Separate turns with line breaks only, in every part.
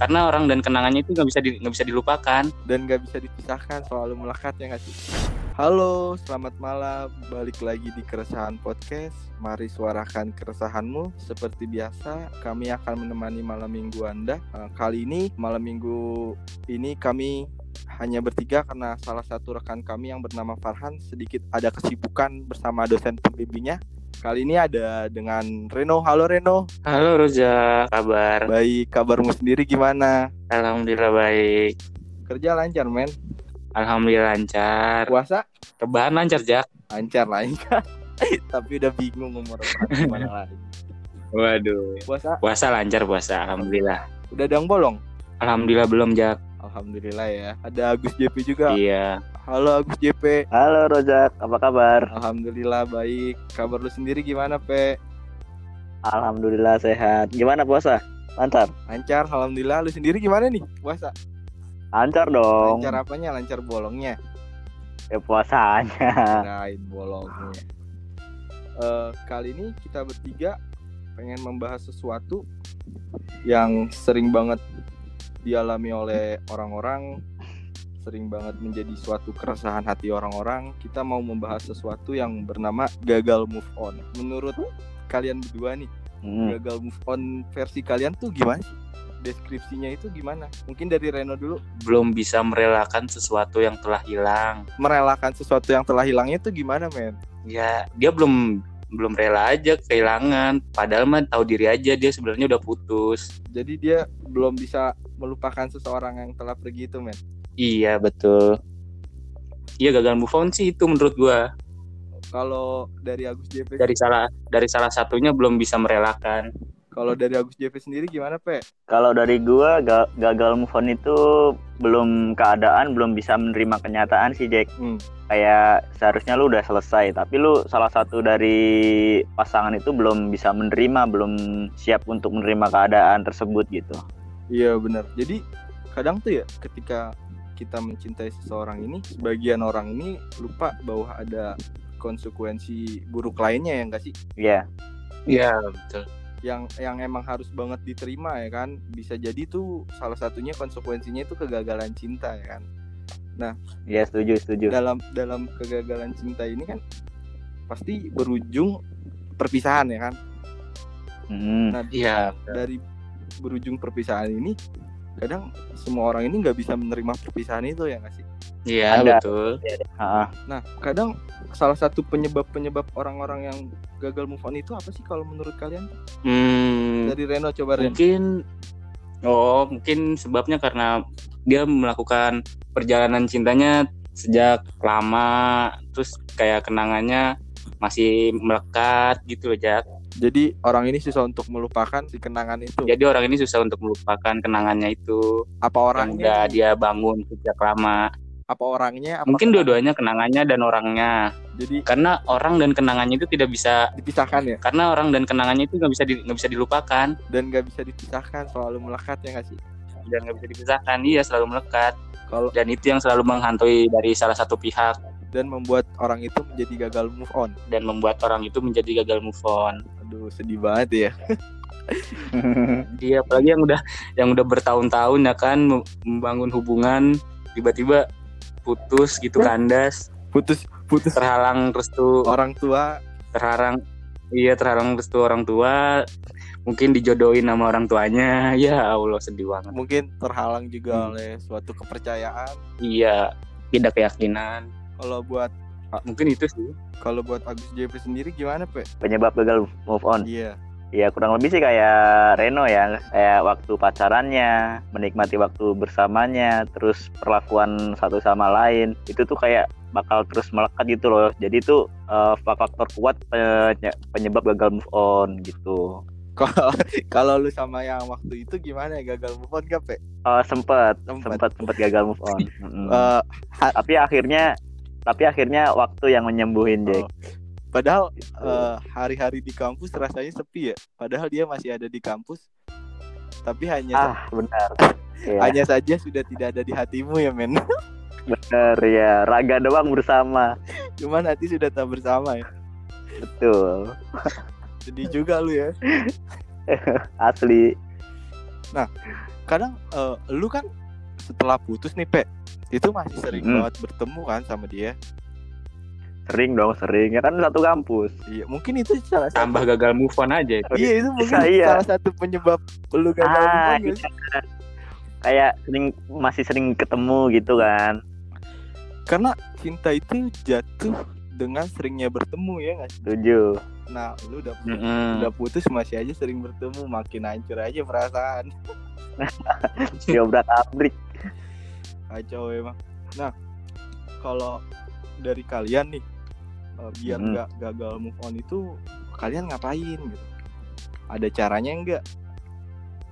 karena orang dan kenangannya itu nggak bisa di- nggak bisa dilupakan
dan gak bisa dipisahkan selalu melekat ya nggak sih? Halo, selamat malam. Balik lagi di Keresahan Podcast. Mari suarakan keresahanmu. Seperti biasa, kami akan menemani malam minggu Anda. Eh, Kali ini, malam minggu ini kami hanya bertiga karena salah satu rekan kami yang bernama Farhan sedikit ada kesibukan bersama dosen pembimbingnya. Kali ini ada dengan Reno. Halo Reno.
halo Roja kabar
Baik, kabarmu sendiri gimana?
alhamdulillah baik
Kerja lancar, men.
alhamdulillah lancar
Puasa?
rebahan lancar Jack
lancar lah enggak. tapi udah bingung umur orang gimana lagi
waduh
puasa
puasa lancar puasa alhamdulillah
udah dang bolong
alhamdulillah belum Jack
alhamdulillah ya ada Agus JP juga
iya
halo Agus JP
Halo Rojak, apa kabar?
alhamdulillah baik kabar lu sendiri gimana pe
Alhamdulillah sehat. Nah, Gimana puasa? Lancar?
lancar alhamdulillah lu sendiri gimana nih puasa
Lancar dong.
lancar apanya lancar bolongnya
Ya puasanya.
kirain bolongnya Eh, kali ini kita bertiga pengen membahas sesuatu yang sering banget dialami oleh orang-orang sering banget menjadi suatu keresahan hati orang-orang kita mau membahas sesuatu yang bernama gagal move on menurut kalian berdua nih
Hmm.
gagal move on versi kalian tuh gimana sih? deskripsinya itu gimana mungkin dari Reno dulu
belum bisa merelakan sesuatu yang telah hilang
merelakan sesuatu yang telah hilangnya tuh gimana men
ya dia belum belum rela aja kehilangan padahal mah tahu diri aja dia sebenarnya udah putus
jadi dia belum bisa melupakan seseorang yang telah pergi itu men
iya betul iya gagal move on sih itu menurut gua
kalau dari Agus JP
dari salah dari salah satunya belum bisa merelakan
kalau dari Agus JP sendiri gimana pe
Kalau dari gua ga- gagal move on itu belum keadaan, belum bisa menerima kenyataan sih Jack.
Hmm.
Kayak seharusnya lu udah selesai, tapi lu salah satu dari pasangan itu belum bisa menerima, belum siap untuk menerima keadaan tersebut gitu.
iya benar jadi kadang tuh ya ketika kita mencintai seseorang ini sebagian orang ini lupa bahwa ada konsekuensi buruk lainnya ya enggak sih
Iya.
iya betul
yang yang emang harus banget diterima ya kan bisa jadi tuh salah satunya konsekuensinya itu kegagalan cinta ya kan
Iya setuju, setuju.
dalam dalam kegagalan cinta ini kan pasti berujung perpisahan ya kan
Hmm.
nah
iya
dari berujung perpisahan ini kadang semua orang ini nggak bisa menerima perpisahan itu ya nggak sih
iya
Ada.
betul
Ha-ha.
nah kadang salah satu penyebab penyebab orang-orang yang gagal move on itu apa sih kalau menurut kalian
hmm,
dari Reno coba Ren
mungkin oh mungkin sebabnya karena dia melakukan perjalanan cintanya sejak lama terus kayak kenangannya masih melekat gitu loh Jack.
jadi orang ini susah untuk melupakan si kenangan itu
Jadi orang ini susah untuk melupakan kenangannya itu
apa
yang udah
orangnya
dia bangun sejak lama.
apa orangnya apa
Mungkin
kenangan.
dua-duanya kenangannya dan orangnya.
jadi
Karena orang dan kenangannya itu tidak bisa
dipisahkan ya
karena orang dan kenangannya itu nggak bisa di- nggak bisa dilupakan
dan nggak bisa dipisahkan selalu melekat ya nggak sih
dan nggak bisa dipisahkan iya selalu melekat
kalau
dan itu yang selalu menghantui dari salah satu pihak
dan membuat orang itu menjadi gagal move on
dan membuat orang itu menjadi gagal move on
aduh sedih banget ya
dia Iya, apalagi yang udah yang udah bertahun-tahun ya kan mem- membangun hubungan tiba-tiba putus gitu kandas
putus putus
terhalang restu
orang tua
terhalang iya terhalang restu orang tua mungkin dijodohin sama orang tuanya ya Allah sedih banget
mungkin terhalang juga
Hmm.
oleh suatu kepercayaan.
iya tidak keyakinan
Kalau buat
mungkin itu sih
kalau buat Agus JP sendiri gimana, Pe?
Penyebab gagal move on.
Iya.
Ya kurang lebih sih kayak Reno ya, kayak waktu pacarannya, menikmati waktu bersamanya, terus perlakuan satu sama lain, itu tuh kayak bakal terus melekat gitu loh. Jadi itu eh, faktor kuat penye- penyebab gagal move on gitu.
Kalau kalau lu sama yang waktu itu gimana ya gagal move on gak, Pe?
Eh sempet,
Sempet.
sempet, sempet gagal move on. Mm-mm.
Eh,
tapi akhirnya, tapi akhirnya waktu yang menyembuhin Jack.
oh. Padahal
Gitu.
eh, hari-hari di kampus rasanya sepi ya. Padahal dia masih ada di kampus. Tapi hanya
ah benar. Ya,
hanya saja sudah tidak ada di hatimu ya, men.
benar ya. Raga doang bersama,
Cuman hati sudah tak bersama ya.
betul.
Sedih juga lu ya.
Asli.
kadang eh, lu kan setelah putus nih pe itu masih sering
Hmm.
banget bertemu kan sama dia
sering dong sering ya kan satu kampus
iya mungkin itu salah satu
tambah gagal move on aja itu.
iya itu mungkin
Bisa, iya.
salah satu penyebab lu gagal
ah
move on, ya.
iya. kayak sering masih sering ketemu gitu kan
karena cinta itu jatuh dengan seringnya bertemu ya nggak sih?
setuju
nah lu udah
Hmm.
Mm-mm.
udah putus masih aja sering bertemu makin hancur aja perasaan
diobrak abrik
kacau emang nah kalau dari kalian nih eh, biar
Hmm.
nggak gagal move on itu kalian ngapain gitu ada caranya nggak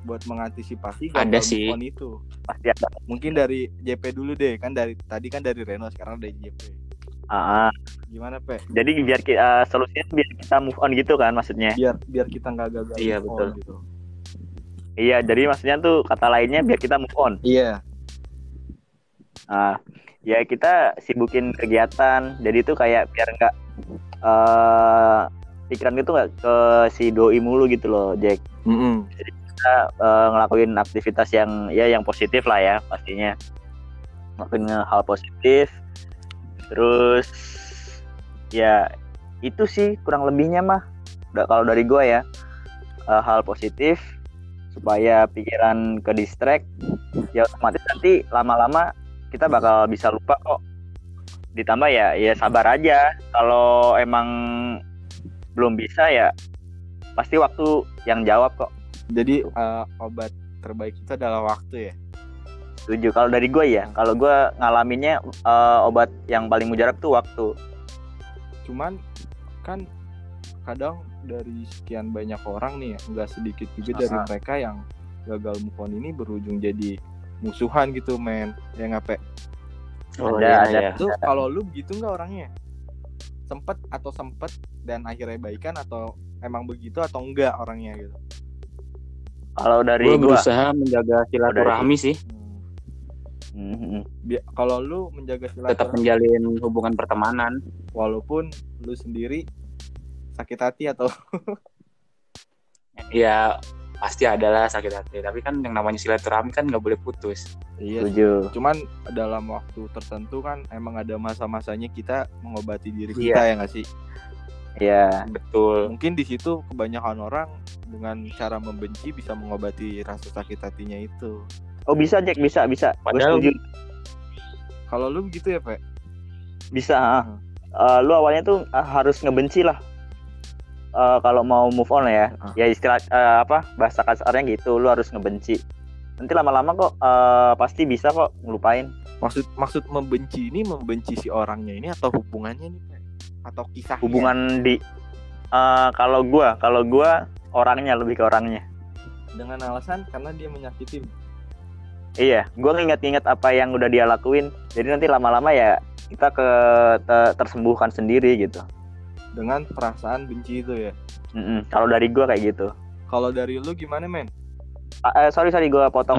buat mengantisipasi gagal
Ada
move
sih.
on itu
pasti ada
mungkin dari JP dulu deh kan dari tadi kan dari Reno sekarang dari JP
Ah, ah.
gimana pe
jadi biar kita solusinya biar kita move on gitu kan maksudnya
biar biar kita nggak gagal
Iya,
move
betul.
on gitu
iya jadi maksudnya tuh kata lainnya biar kita move on
iya
Ah, ya kita sibukin kegiatan. Jadi itu kayak biar nggak eh pikiran itu nggak ke si doi mulu gitu loh, Jack. Kita eh, ngelakuin aktivitas yang ya yang positif lah ya pastinya. Ngelakuin hal positif. Terus ya itu sih kurang lebihnya mah. Udah, kalau dari gua ya eh, hal positif supaya pikiran ke distract ya otomatis nanti lama-lama kita bakal bisa lupa kok. Ditambah ya ya sabar aja. Kalau emang belum bisa ya pasti waktu yang jawab kok.
jadi eh, obat terbaik itu adalah waktu ya
Setuju. Kalau dari gue ya, kalau gue ngalaminnya eh, obat yang paling mujarab tuh waktu.
cuman kan kadang dari sekian banyak orang nih ya, nggak sedikit juga dari
Ah.
mereka yang gagal move on ini berujung jadi musuhan gitu men ya nggak Pe?
Oh,
Ada,
iya,
ada.
iya.
Lu kalau lu begitu nggak orangnya sempet atau sempet dan akhirnya baikan atau emang begitu atau enggak orangnya gitu
Kalau dari
Gue
gue,
berusaha menjaga silaturahmi sih,
Mhm,
Bi- kalau lu menjaga
tetap
silaturahmi
menjalin hubungan pertemanan.
walaupun lu sendiri sakit hati atau
Ya pasti adalah sakit hati, tapi kan yang namanya silaturahmi kan nggak boleh putus.
iya
setuju.
cuman dalam waktu tertentu kan emang ada masa-masanya kita mengobati diri
Iya.
kita ya nggak sih
Iya,
Betul.
mungkin di situ kebanyakan orang dengan cara membenci bisa mengobati rasa sakit hatinya itu
oh bisa Jack bisa bisa. Gua
Padahal-
setuju.
kalau lu begitu ya pak
bisa. ah. Eh, lu awalnya tuh ah, harus ngebenci lah. Eh, kalau mau move on ya,
Ah.
ya istilah eh, apa bahasa kasarnya gitu, lu harus ngebenci. Nanti lama-lama kok eh, pasti bisa kok ngelupain.
maksud maksud membenci ini membenci si orangnya ini atau hubungannya nih Pe? atau kisah
Hubungan di Iya. eh, kalau gua, kalau gua orangnya lebih ke orangnya.
dengan alasan karena dia menyakiti
Iya, gua nginget-nginget apa yang udah dia lakuin. Jadi nanti lama-lama ya kita ke te- tersembuhkan sendiri gitu.
dengan perasaan benci itu ya
Mm-mm, Kalau dari gua kayak gitu.
kalau dari lu gimana men
Ah, eh, sorry sorry gua potong.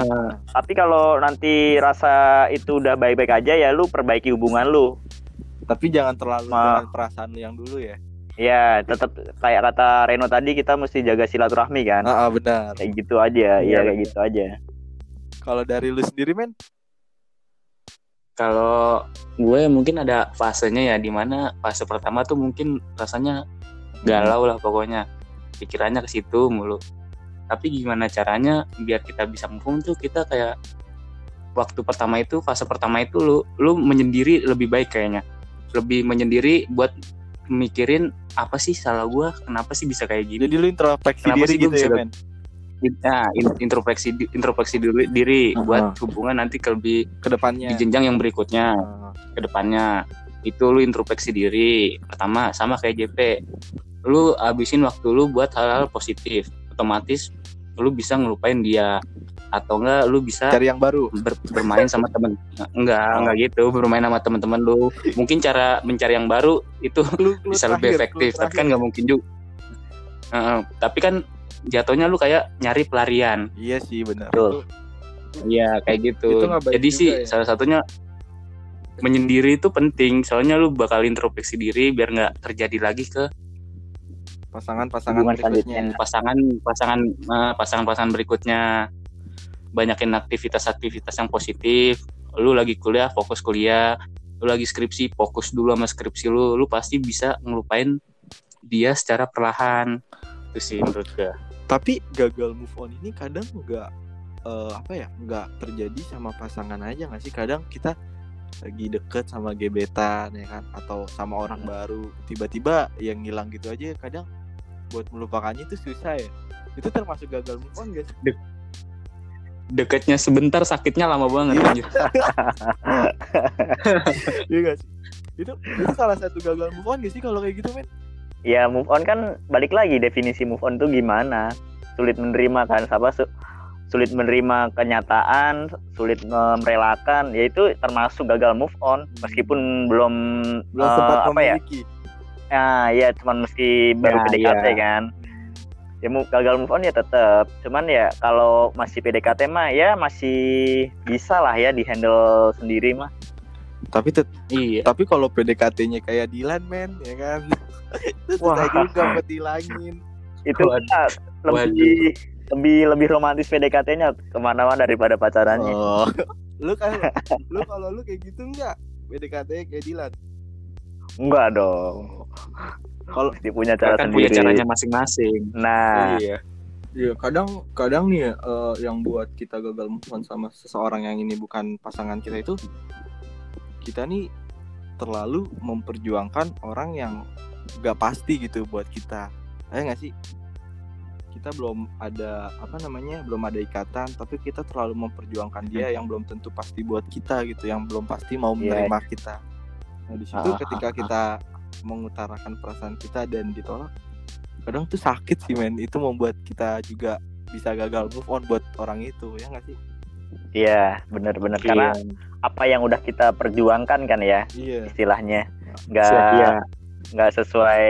Tapi kalau nanti rasa itu udah baik-baik aja ya lu perbaiki hubungan lu.
tapi jangan terlalu
Ma.
dengan perasaan lu yang dulu ya
Ya, tetap kayak kata Reno tadi kita mesti jaga silaturahmi kan.
ah ah, benar
Kayak gitu aja,
Iya,
ya kayak
iya.
gitu aja.
kalau dari lu sendiri men
Kalau gue mungkin ada fasenya ya, dimana fase pertama tuh mungkin rasanya galau lah pokoknya, pikirannya ke situ mulu. Tapi gimana caranya biar kita bisa move on tuh kita kayak waktu pertama itu fase pertama itu lu lu menyendiri lebih baik kayaknya, lebih menyendiri buat mikirin apa sih salah gue, kenapa sih bisa kayak gini?
jadi lu introspeksi
Kenapa
diri
sih gua
gitu
bisa
ya
gak-
men
Nah, in- introspeksi di- introspeksi dulu diri
Uh-huh.
buat hubungan nanti ke lebih di
kedepannya
jenjang yang berikutnya
Ah,
ke depannya itu lu introspeksi diri pertama sama kayak JP lu abisin waktu lu buat hal-hal positif otomatis lu bisa ngelupain dia atau enggak lu bisa
cari yang baru
ber- bermain sama temen enggak
Oh.
enggak gitu bermain sama temen-temen lu mungkin cara mencari yang baru itu
Clue- clue
bisa lebih
terakhir,
efektif
clue
tapi kan
terakhir.
nggak mungkin juga Heeh, tapi kan jatuhnya lu kayak nyari pelarian
iya sih benar
Betul.
Iya kayak gitu.
Itu nggak baik
Jadi
juga
sih
ya.
salah satunya menyendiri itu penting. Soalnya lu bakal introspeksi diri biar nggak terjadi lagi ke
pasangan pasangan
Hubungan
berikutnya
selanjutnya.
pasangan pasangan eh, pasangan-pasangan berikutnya. banyakin aktivitas-aktivitas yang positif lu lagi kuliah fokus kuliah lu lagi skripsi fokus dulu sama skripsi lu lu pasti bisa ngelupain dia secara perlahan itu sih menurut gue
tapi gagal move on ini kadang nggak eh, apa ya nggak terjadi sama pasangan aja nggak sih kadang kita lagi deket sama gebetan ya kan atau sama orang
Hmm.
baru tiba-tiba yang ngilang gitu aja kadang buat melupakannya itu susah ya itu termasuk gagal move on gak sih?
deketnya sebentar sakitnya lama banget anjir.
Iya gak sih? Itu, itu salah satu gagal move on gak sih kalau kayak gitu men?
ya move on kan balik lagi definisi move on tuh gimana sulit menerima kan apa su- sulit menerima kenyataan sulit eh, merelakan yaitu termasuk gagal move on meskipun belum
Belum
eh,
sempat
apa ya
memiliki
ah ya cuman meski
Ya,
baru PDKT
ya.
kan ya mu- gagal move on ya tetap cuman ya kalau masih PDKT mah ya masih bisa lah ya dihandle sendiri mah
Tapi tet-
iya
tapi kalau PDKT-nya kayak Dilan men ya kan Itu susah
Wah.
juga buat dihilangin
itu
Waduh.
mah lebih lebih lebih romantis PDKT-nya kemana-mana daripada pacarannya
Oh. lu kan lu kalau lu kayak gitu enggak PDKT-nya kayak Dilan
Enggak dong.
Kalau-
Pasti punya cara
kan
sendiri.
punya caranya masing-masing
Nah,
iya
Iya kadang kadang nih ya, eh, yang buat kita gagal move on sama seseorang yang ini bukan pasangan kita itu kita nih terlalu memperjuangkan orang yang gak pasti gitu buat kita, ya nggak sih? Kita belum ada apa namanya belum ada ikatan tapi kita terlalu memperjuangkan dia yang belum tentu pasti buat kita gitu, yang belum pasti mau
Hmm. Iya.
menerima kita. Nah di situ
Ah, ah,
ketika
ah.
kita mengutarakan perasaan kita dan ditolak, kadang tuh sakit sih men. Itu membuat kita juga bisa gagal move on buat orang itu ya nggak sih?
iya benar-benar karena
Iya.
apa yang udah kita perjuangkan kan ya
Iya.
istilahnya
Iya.
nggak nggak sesuai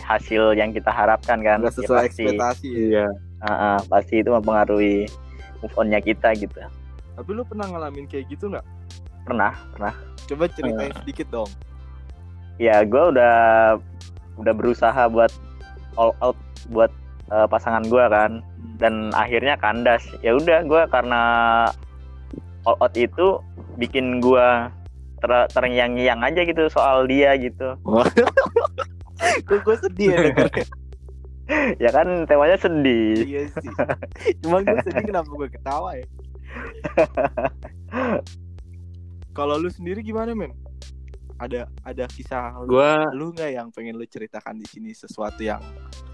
hasil yang kita harapkan kan.
Nggak
Ya,
sesuai
pasti,
ekspektasi. ya.
iya
Ah, ah, pasti itu mempengaruhi move on-nya kita gitu.
Tapi lu pernah ngalamin kayak gitu nggak?
Pernah, pernah.
Coba ceritain sedikit dong.
Ya, gue udah udah berusaha buat all out buat eh, pasangan gue kan. dan akhirnya kandas ya udah gue karena all out itu bikin gue ter terngiang-ngiang aja gitu soal dia gitu
gue gue sedih ya dengernya.
ya kan temanya sedih
Iya sih. Cuman gue sedih kenapa gue ketawa ya? Kalau lu sendiri gimana men? Ada ada kisah lu
gue
lu nggak yang pengen lu ceritakan di sini sesuatu yang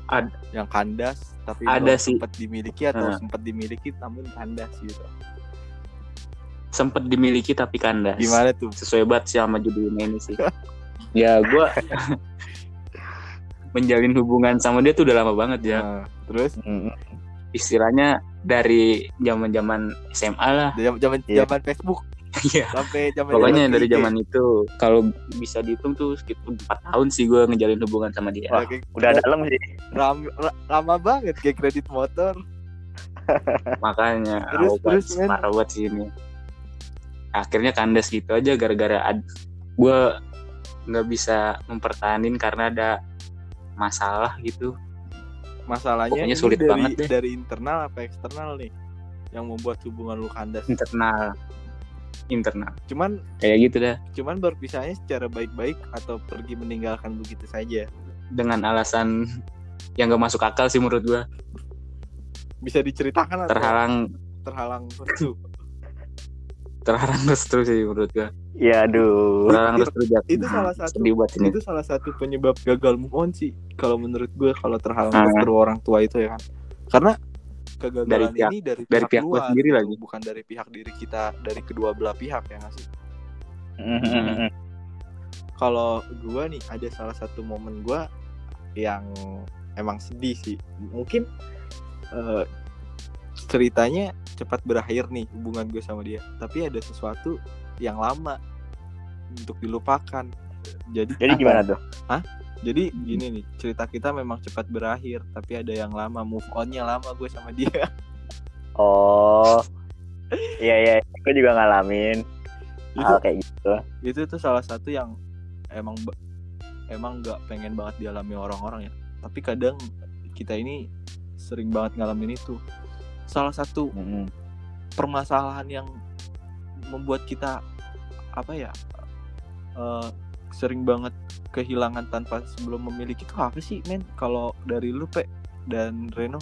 Ad-
yang kandas tapi
Ada
lu
sih.
sempat dimiliki atau
Nah.
sempat dimiliki namun kandas gitu
sempet dimiliki tapi kandas
gimana tuh
sesuai banget sih sama judulnya ini sih ya gue menjalin hubungan sama dia tuh udah lama banget ya
Nah, terus
Mm,
istilahnya dari zaman zaman SMA lah
zaman zaman
Iya.
zaman Facebook
Iya.
sampai zaman
pokoknya dari zaman itu kalau bisa dihitung tuh sekitar empat tahun sih gue ngejalin hubungan sama dia
Wah,
udah dalam sih
ram, ra- lama banget kayak kredit motor
makanya
Terus,
awal banget,
terus, men.
parah banget sih ini akhirnya kandas gitu aja gara-gara gue nggak bisa mempertahankan karena ada masalah gitu
masalahnya
Pokoknya
ini
sulit
dari,
banget deh.
dari internal apa eksternal nih yang membuat hubungan lu kandas
internal internal
cuman
kayak gitu dah
cuman berpisahnya secara baik-baik atau pergi meninggalkan begitu saja
dengan alasan yang gak masuk akal sih menurut gue
bisa diceritakan atau
terhalang
terhalang restu
terhalang restu sih menurut gue
ya aduh
terhalang restu jatuh.
itu salah satu-
sedih buat ini
itu salah satu penyebab gagal move on sih kalau menurut gue kalau terhalang
Ah.
faktor orang tua itu ya kan karena kegagalan
Dari pihak-
ini dari pihak,
dari pihak gua
luar
sendiri
gitu,
lagi.
bukan dari pihak diri kita dari kedua belah pihak ya nggak sih
Mm,
kalau gue nih ada salah satu momen gue yang emang sedih sih mungkin eh, ceritanya cepat berakhir nih hubungan gue sama dia tapi ada sesuatu yang lama untuk dilupakan jadi
jadi gimana tuh
Jadi gini nih, cerita kita memang cepat berakhir, tapi ada yang lama move on-nya lama gue sama dia.
oh iya iya gue juga ngalamin
itu,
hal kayak gitu
itu tuh salah satu yang emang ba- emang nggak pengen banget dialami orang-orang ya. Tapi kadang kita ini sering banget ngalamin itu. Salah satu
Mm,
permasalahan yang membuat kita apa ya eh, sering banget kehilangan tanpa sebelum memiliki itu apa sih men kalau dari lu pe dan Reno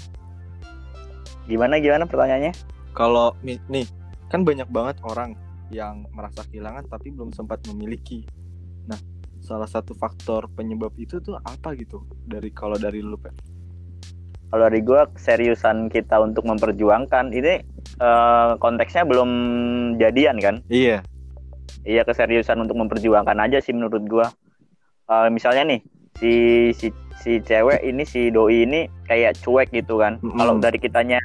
Gimana gimana pertanyaannya?
kalau mi- nih kan banyak banget orang yang merasa kehilangan tapi belum sempat memiliki nah salah satu faktor penyebab itu tuh apa gitu dari kalau dari lu pe
Kalau dari gua keseriusan kita untuk memperjuangkan ini eh, konteksnya belum jadian kan?
iya
Iya keseriusan untuk memperjuangkan aja sih menurut gua. Eh, misalnya nih si si si cewek ini si doi ini kayak cuek gitu kan.
Mm-mm.
Kalau dari kitanya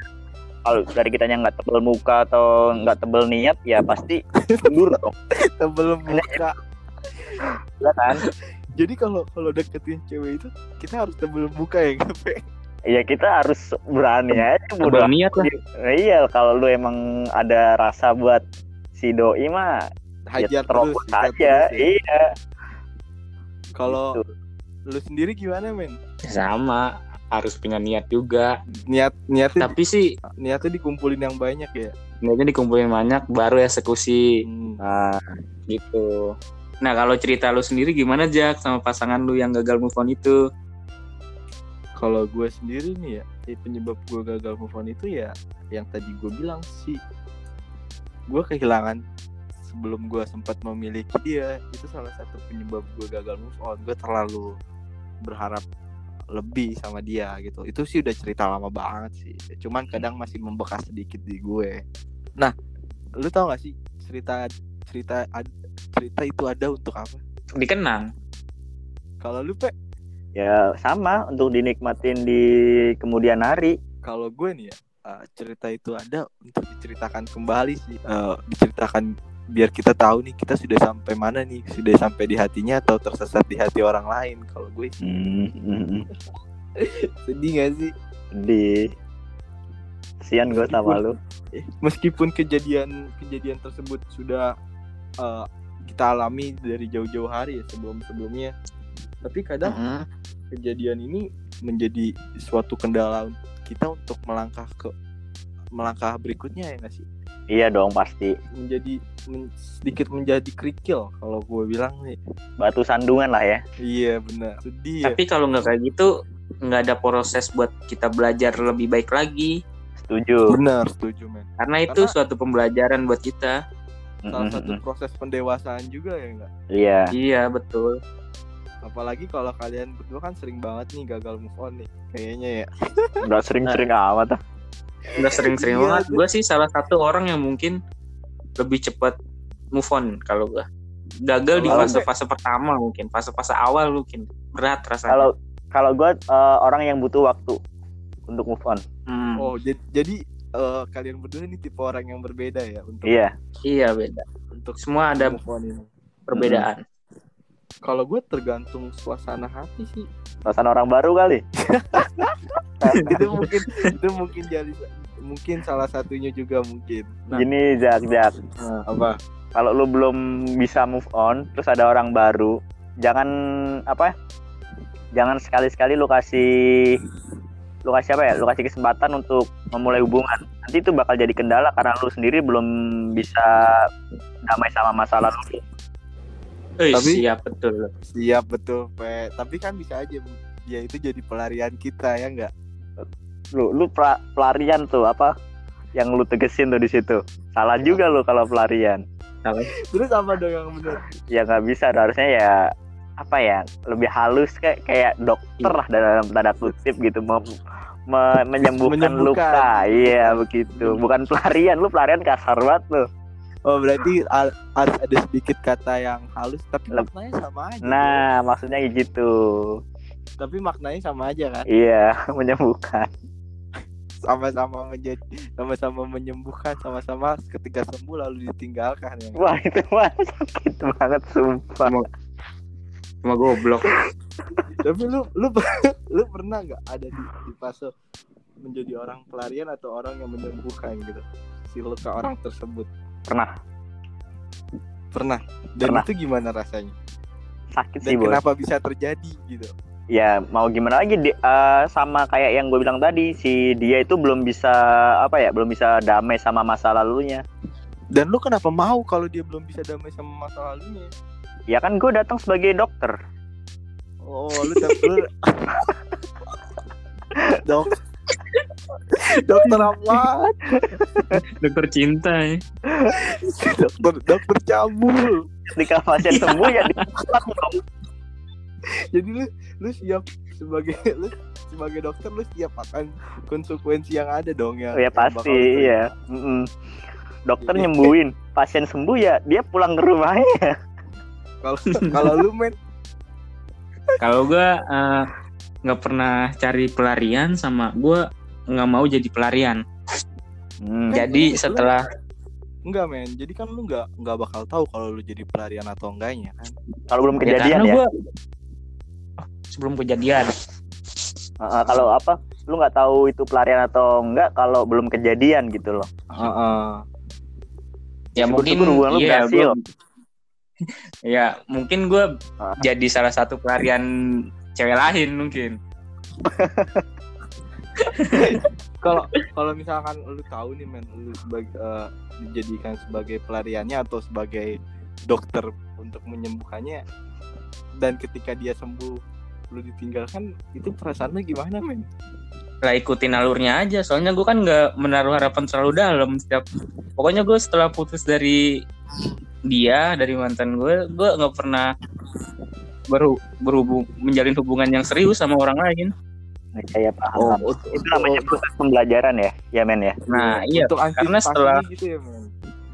kalau dari kitanya nggak tebel muka atau nggak tebel niat ya pasti mundur dong.
sebelum muka
Iya kan?
jadi kalau kalau deketin cewek itu kita harus tebel muka ya nggak, Pe?
Iya kita harus berani aja bodo
Udah niat lah.
Nah, iya kalau lu emang ada rasa buat si doi mah
hajar
ya terobos
terus sikat
aja.
terus ya.
Iya.
kalau
gitu.
lu sendiri gimana men
Sama, harus punya niat juga.
niat niatnya
Tapi sih
niatnya dikumpulin yang banyak
Iya.
ya
niatnya dikumpulin banyak baru eksekusi
Hmm.
Nah,
gitu. Nah, kalau cerita lu sendiri gimana Jak sama pasangan lu yang gagal move on itu?
kalau gue sendiri nih ya eh, penyebab gue gagal move on itu ya yang tadi gue bilang sih gue kehilangan sebelum gue sempat memiliki dia itu salah satu penyebab gue gagal move on gue terlalu berharap lebih sama dia gitu itu sih udah cerita lama banget sih cuman kadang masih membekas sedikit di gue nah lu tau gak sih cerita cerita ad- cerita itu ada untuk apa
Dikenang.
kalau lu pe
ya sama untuk dinikmatin di kemudian hari.
kalau gue nih ya uh, cerita itu ada untuk diceritakan kembali sih Uh, diceritakan biar kita tahu nih kita sudah sampai mana nih sudah sampai di hatinya atau tersesat di hati orang lain kalau gue sih
Hmm.
sedih gak sih
Di Kasian gue sama lu.
Eh, meskipun kejadian kejadian tersebut sudah uh, kita alami dari jauh-jauh hari ya sebelum sebelumnya tapi kadang
Hmm.
kejadian ini menjadi suatu kendala kita untuk melangkah ke melangkah berikutnya ya nggak sih
Iya dong pasti.
menjadi men- sedikit menjadi kerikil kalau gue bilang nih
Batu sandungan lah ya.
iya benar sedih ya
Tapi kalau nggak kayak gitu nggak ada proses buat kita belajar lebih baik lagi
Setuju.
benar setuju men
karena itu
Karena-
suatu pembelajaran buat kita.
salah satu
Mm-mm.
proses pendewasaan juga ya enggak
Hmm. Iya.
Iya, betul.
apalagi kalau kalian berdua kan sering banget nih gagal move on nih kayaknya ya
Udah sering-sering amat. ah.
Udah sering-sering
Iya,
banget.
tuh.
Gue sih salah satu orang yang mungkin lebih cepat move on kalau gue. Gagal di
Kalau-
fase-fase pertama mungkin, fase-fase awal mungkin berat rasanya.
Kalau kalau gue eh, orang yang butuh waktu untuk move on.
Hmm,
oh jadi, jadi eh, kalian berdua nih tipe orang yang berbeda ya untuk
Iya.
Iya beda.
untuk Hmm.
Semua ada
move on ini
perbedaan.
kalau gue tergantung suasana hati sih
Perasaan orang baru kali.
itu mungkin itu mungkin jadi mungkin salah satunya juga mungkin nah,
Gini Zak Zak.
nah, apa
kalau lu belum bisa move on terus ada orang baru jangan apa ya, jangan sekali-sekali lu kasih lu kasih apa ya lu kasih kesempatan untuk memulai hubungan nanti itu bakal jadi kendala karena lu sendiri belum bisa damai sama masalah lu
Eh,
Tapi-
siap betul.
Siap betul, Pe. Tapi kan bisa aja Bu. dia itu jadi pelarian kita ya enggak?
lu lu pra- pelarian tuh apa yang lu tegesin tuh di situ salah juga lu kalau pelarian
Terus apa dong yang benar?
ya nggak bisa harusnya ya apa ya lebih halus kayak kayak dokter
Iya.
lah dalam tanda kutip gitu mem, me-
Menyembuhkan.
menyembuhkan, luka iya begitu bukan pelarian lu pelarian kasar banget lu
Oh, berarti al- harus ada sedikit kata yang halus tapi
Lep-
maknanya sama aja.
nah
Iya.
maksudnya kayak gitu
Pe. tapi maknanya sama aja kan?
iya menyembuhkan
Sama-sama menjadi sama-sama menyembuhkan, sama-sama ketika sembuh lalu ditinggalkan ya. nggak?
wah itu mah sakit banget sumpah
Cuma goblok.
tapi lu lu lu pernah nggak ada di, di fase menjadi orang pelarian atau orang yang menyembuhkan gitu? Si luka orang tersebut.
Pernah.
Pernah. Dan
Pernah.
itu gimana rasanya? Dan
sakit sih
Iya,
bos
kenapa bisa terjadi gitu?
ya mau gimana lagi di- eh, sama kayak yang gue bilang tadi si dia itu belum bisa apa ya belum bisa damai sama masa lalunya
Dan lu kenapa mau kalau dia belum bisa damai sama masa lalunya?
ya kan gue datang sebagai dokter
Oh, lu tak lu- Dok. Dokter apa?
Dokter cinta ya.
Dokter dokter cabul.
ketika pasien sembuh ya ditolak dong
Jadi lu lu siap sebagai lu sebagai dokter lu siap akan konsekuensi yang ada dong ya.
ya
yang bakal
pasti
lu terima.
iya Mm-mm. dokter nyembuhin pasien sembuh ya dia pulang ke rumahnya
Kalau kalau lu men
Kalau gua eh, nggak pernah cari pelarian sama gua nggak mau jadi pelarian.
Hmm.
Ya.
Jadi setelah
enggak men. Jadi kan lu enggak enggak bakal tahu kalau lu jadi pelarian atau enggaknya kan.
kalau belum
ya,
kejadian
karena
ya,
gua Oh, sebelum kejadian Ya
Heeh, kalau apa lu nggak tahu itu pelarian atau enggak kalau belum kejadian gitu loh
Heeh.
ya mungkin
Syukur-syukur hubungan lu
iya,
berhasil.
gua- ya mungkin gue
Ah.
jadi salah satu pelarian cewek lain mungkin
kalau kalau misalkan lu tahu nih men lu sebagai eh, dijadikan sebagai pelariannya atau sebagai dokter untuk menyembuhkannya dan ketika dia sembuh lu ditinggalkan itu perasaan lu gimana men
lah ikutin alurnya aja soalnya gue kan nggak menaruh harapan terlalu dalam setiap pokoknya gue setelah putus dari dia dari mantan gue gue nggak pernah baru berhubung menjalin hubungan yang serius sama orang lain
ya
Oh.
Oh,
paham itu namanya proses pembelajaran ya ya men ya
nah iya
untuk
karena
antisipasi
setelah-
gitu ya men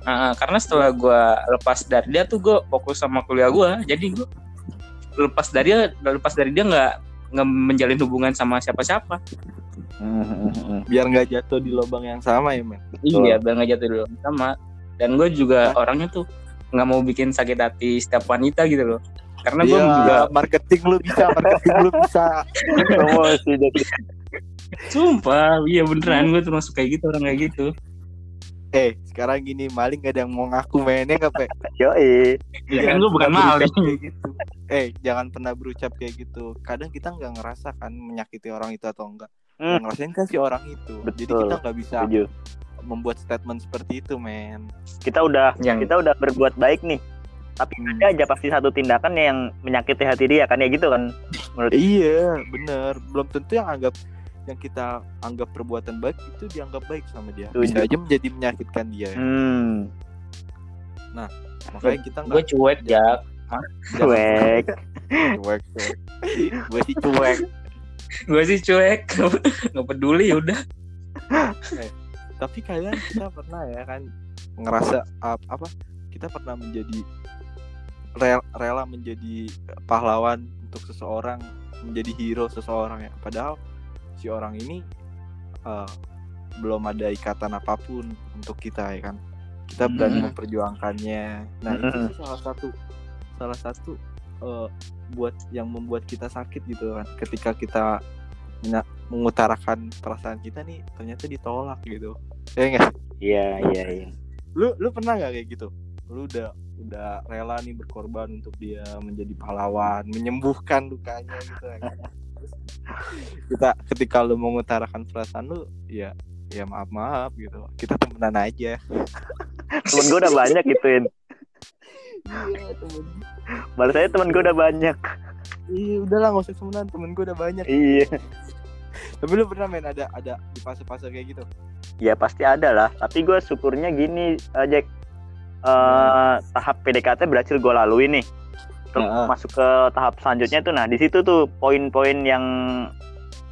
Ah, ah, karena setelah gue lepas dari dia tuh gue fokus sama kuliah gue jadi gue lepas dari dia lepas dari dia nggak nggak menjalin hubungan sama siapa-siapa
Hmm.
biar nggak jatuh di lubang yang sama ya men
iya biar nggak jatuh dulu sama dan gue juga orangnya tuh nggak mau bikin sakit hati setiap wanita gitu loh karena gue
Iya,
juga
marketing lu bisa marketing lu bisa
Promosi, jadi
sumpah iya beneran gue termasuk kayak gitu orang kayak gitu
eh sekarang gini maling gak ada yang mau ngaku mainnya nggak pe
yoi
ya kan gue bukan
pernah
maling
berucap kayak gitu. eh jangan pernah berucap kayak gitu kadang kita nggak ngerasa kan menyakiti orang itu atau enggak
Hmm.
Yang ngerasain kan si orang itu jadi
Betul.
kita nggak bisa
setuju
membuat statement seperti itu men
kita udah
yang
kita udah berbuat baik nih tapi ada aja pasti satu tindakan yang menyakiti hati dia kan ya gitu kan menurut
iya bener belum tentu yang anggap yang kita anggap perbuatan baik itu dianggap baik sama dia bisa
Setuju.
aja menjadi menyakitkan dia
hmm
makanya kita
gue
nggak
cuek ya
cuek
cuek cuek gue sih cuek
gue sih cuek nggak peduli ya udah
tapi kalian kita pernah ya kan ngerasa ap- apa kita pernah menjadi rel- rela menjadi pahlawan untuk seseorang menjadi hero seseorang ya padahal si orang ini eh, belum ada ikatan apapun untuk kita ya kan kita berani
Mm.
memperjuangkannya nah itu
Mm-mm.
sih salah satu salah satu eh, buat yang membuat kita sakit gitu kan ketika kita menya- mengutarakan perasaan kita nih ternyata ditolak gitu ya nggak sih?
iya iya iya
lu lu pernah nggak kayak gitu lu udah udah rela nih berkorban untuk dia menjadi pahlawan menyembuhkan lukanya gitu kan. Terus kita ketika lu mengutarakan perasaan lu ya ya maaf maaf gitu kita temenan aja
temen gue udah banyak gituin
iya temen
balas saya temen gue udah banyak
iya udahlah nggak usah temenan temen gue udah banyak
iya
tapi lu pernah main ada ada di fase-fase kayak gitu
ya pasti ada lah tapi gue syukurnya gini eh, Jack Eh, tahap PDKT berhasil gue lalui nih Terus
Nah, ah.
masuk ke tahap selanjutnya tuh nah di situ tuh poin-poin yang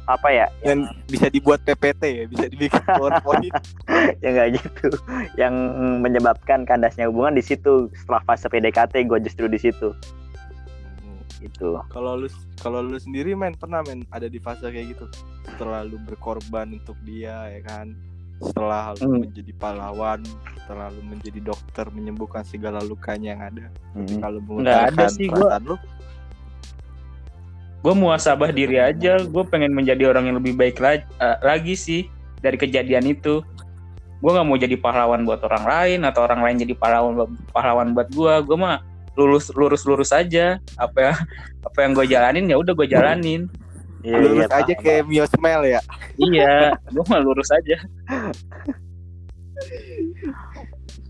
apa ya
dan bisa dibuat PPT ya bisa dibikin PowerPoint
ya nggak gitu yang menyebabkan kandasnya hubungan di situ setelah fase PDKT gue justru di situ gitu
Kalau lu kalau lu sendiri men pernah men ada di fase kayak gitu setelah lu berkorban untuk dia ya kan setelah lu
Hmm.
menjadi pahlawan setelah lu menjadi dokter menyembuhkan segala lukanya yang ada
Mm-hmm.
kalau
Hmm. Nggak ada sih, gua- Iya,
perasaan lu
gue muasabah diri aja gue pengen menjadi orang yang lebih baik la- eh, lagi sih dari kejadian itu gue nggak mau jadi pahlawan buat orang lain atau orang lain jadi pahlawan pahlawan buat gue gue mah lulus lurus lurus aja apa yang apa yang gue jalanin ya udah gue jalanin
Iya,
Lurus
iya,
aja
paham.
kayak Mio Smell ya.
iya gue mah lurus aja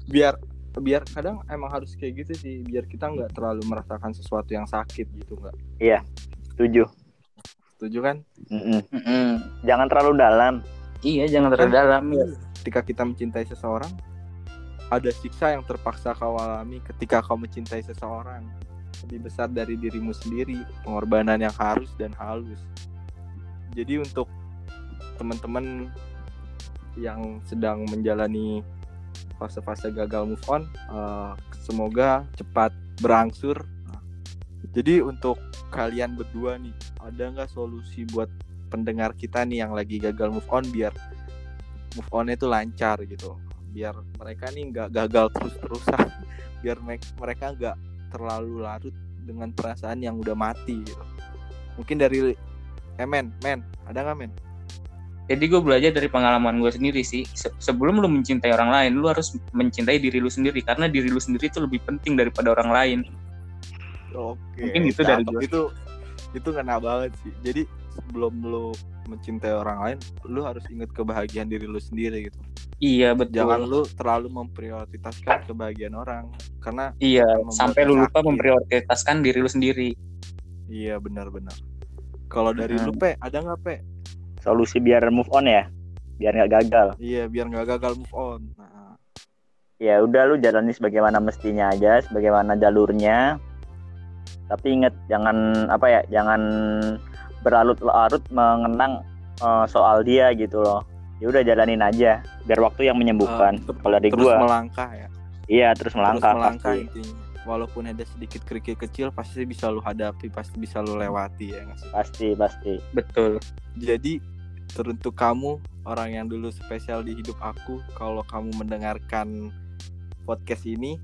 Biar biar kadang emang harus kayak gitu sih biar kita nggak terlalu merasakan sesuatu yang sakit gitu nggak
setuju.
setuju kan
Mm-mm.
Mm-mm.
Jangan terlalu dalam.
iya jangan terlalu dalam ya.
ketika kita mencintai seseorang ada siksa yang terpaksa kau alami ketika kau mencintai seseorang lebih besar dari dirimu sendiri pengorbanan yang harus dan halus jadi untuk teman-teman yang sedang menjalani fase-fase gagal move on eh, semoga cepat berangsur jadi untuk kalian berdua nih ada nggak solusi buat pendengar kita nih yang lagi gagal move on biar move onnya itu lancar gitu biar mereka nih nggak gagal terus-terusan biar me- mereka nggak terlalu larut dengan perasaan yang udah mati gitu mungkin dari eh men men ada nggak men
jadi gue belajar dari pengalaman gue sendiri sih Se- sebelum lu mencintai orang lain lu harus mencintai diri lu sendiri karena diri lu sendiri itu lebih penting daripada orang lain
oke
Mungkin itu dari
cakep.
gua.
itu itu kena banget sih jadi sebelum lu mencintai orang lain lu harus ingat kebahagiaan diri lu sendiri gitu
iya betul
jangan lu terlalu memprioritaskan kebahagiaan orang karena
iya
membuat
sampai lu lupa
sakit.
memprioritaskan diri lu sendiri
iya benar-benar kalau dari lu pe ada nggak pe
Solusi biar move on ya. Biar nggak gagal.
iya biar nggak gagal move on nah
Ya udah lu jalani sebagaimana mestinya aja, sebagaimana jalurnya. Tapi inget jangan apa ya, jangan berlarut-larut mengenang eh, soal dia gitu loh. Ya udah jalanin aja. Biar waktu yang menyembuhkan.
Eh, ter-
Kalau dari
terus
gua,
melangkah ya
iya terus melangkah,
terus melangkah
pasti.
intinya walaupun ada sedikit kerikil kecil pasti bisa lu hadapi pasti bisa lu lewati ya nggak sih
Pasti, pasti.
betul
jadi teruntuk kamu orang yang dulu spesial di hidup aku kalau kamu mendengarkan podcast ini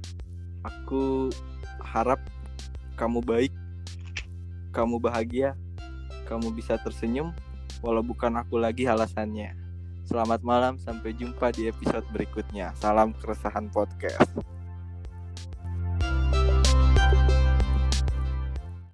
aku harap kamu baik kamu bahagia kamu bisa tersenyum walau bukan aku lagi alasannya selamat malam sampai jumpa di episode berikutnya salam keresahan podcast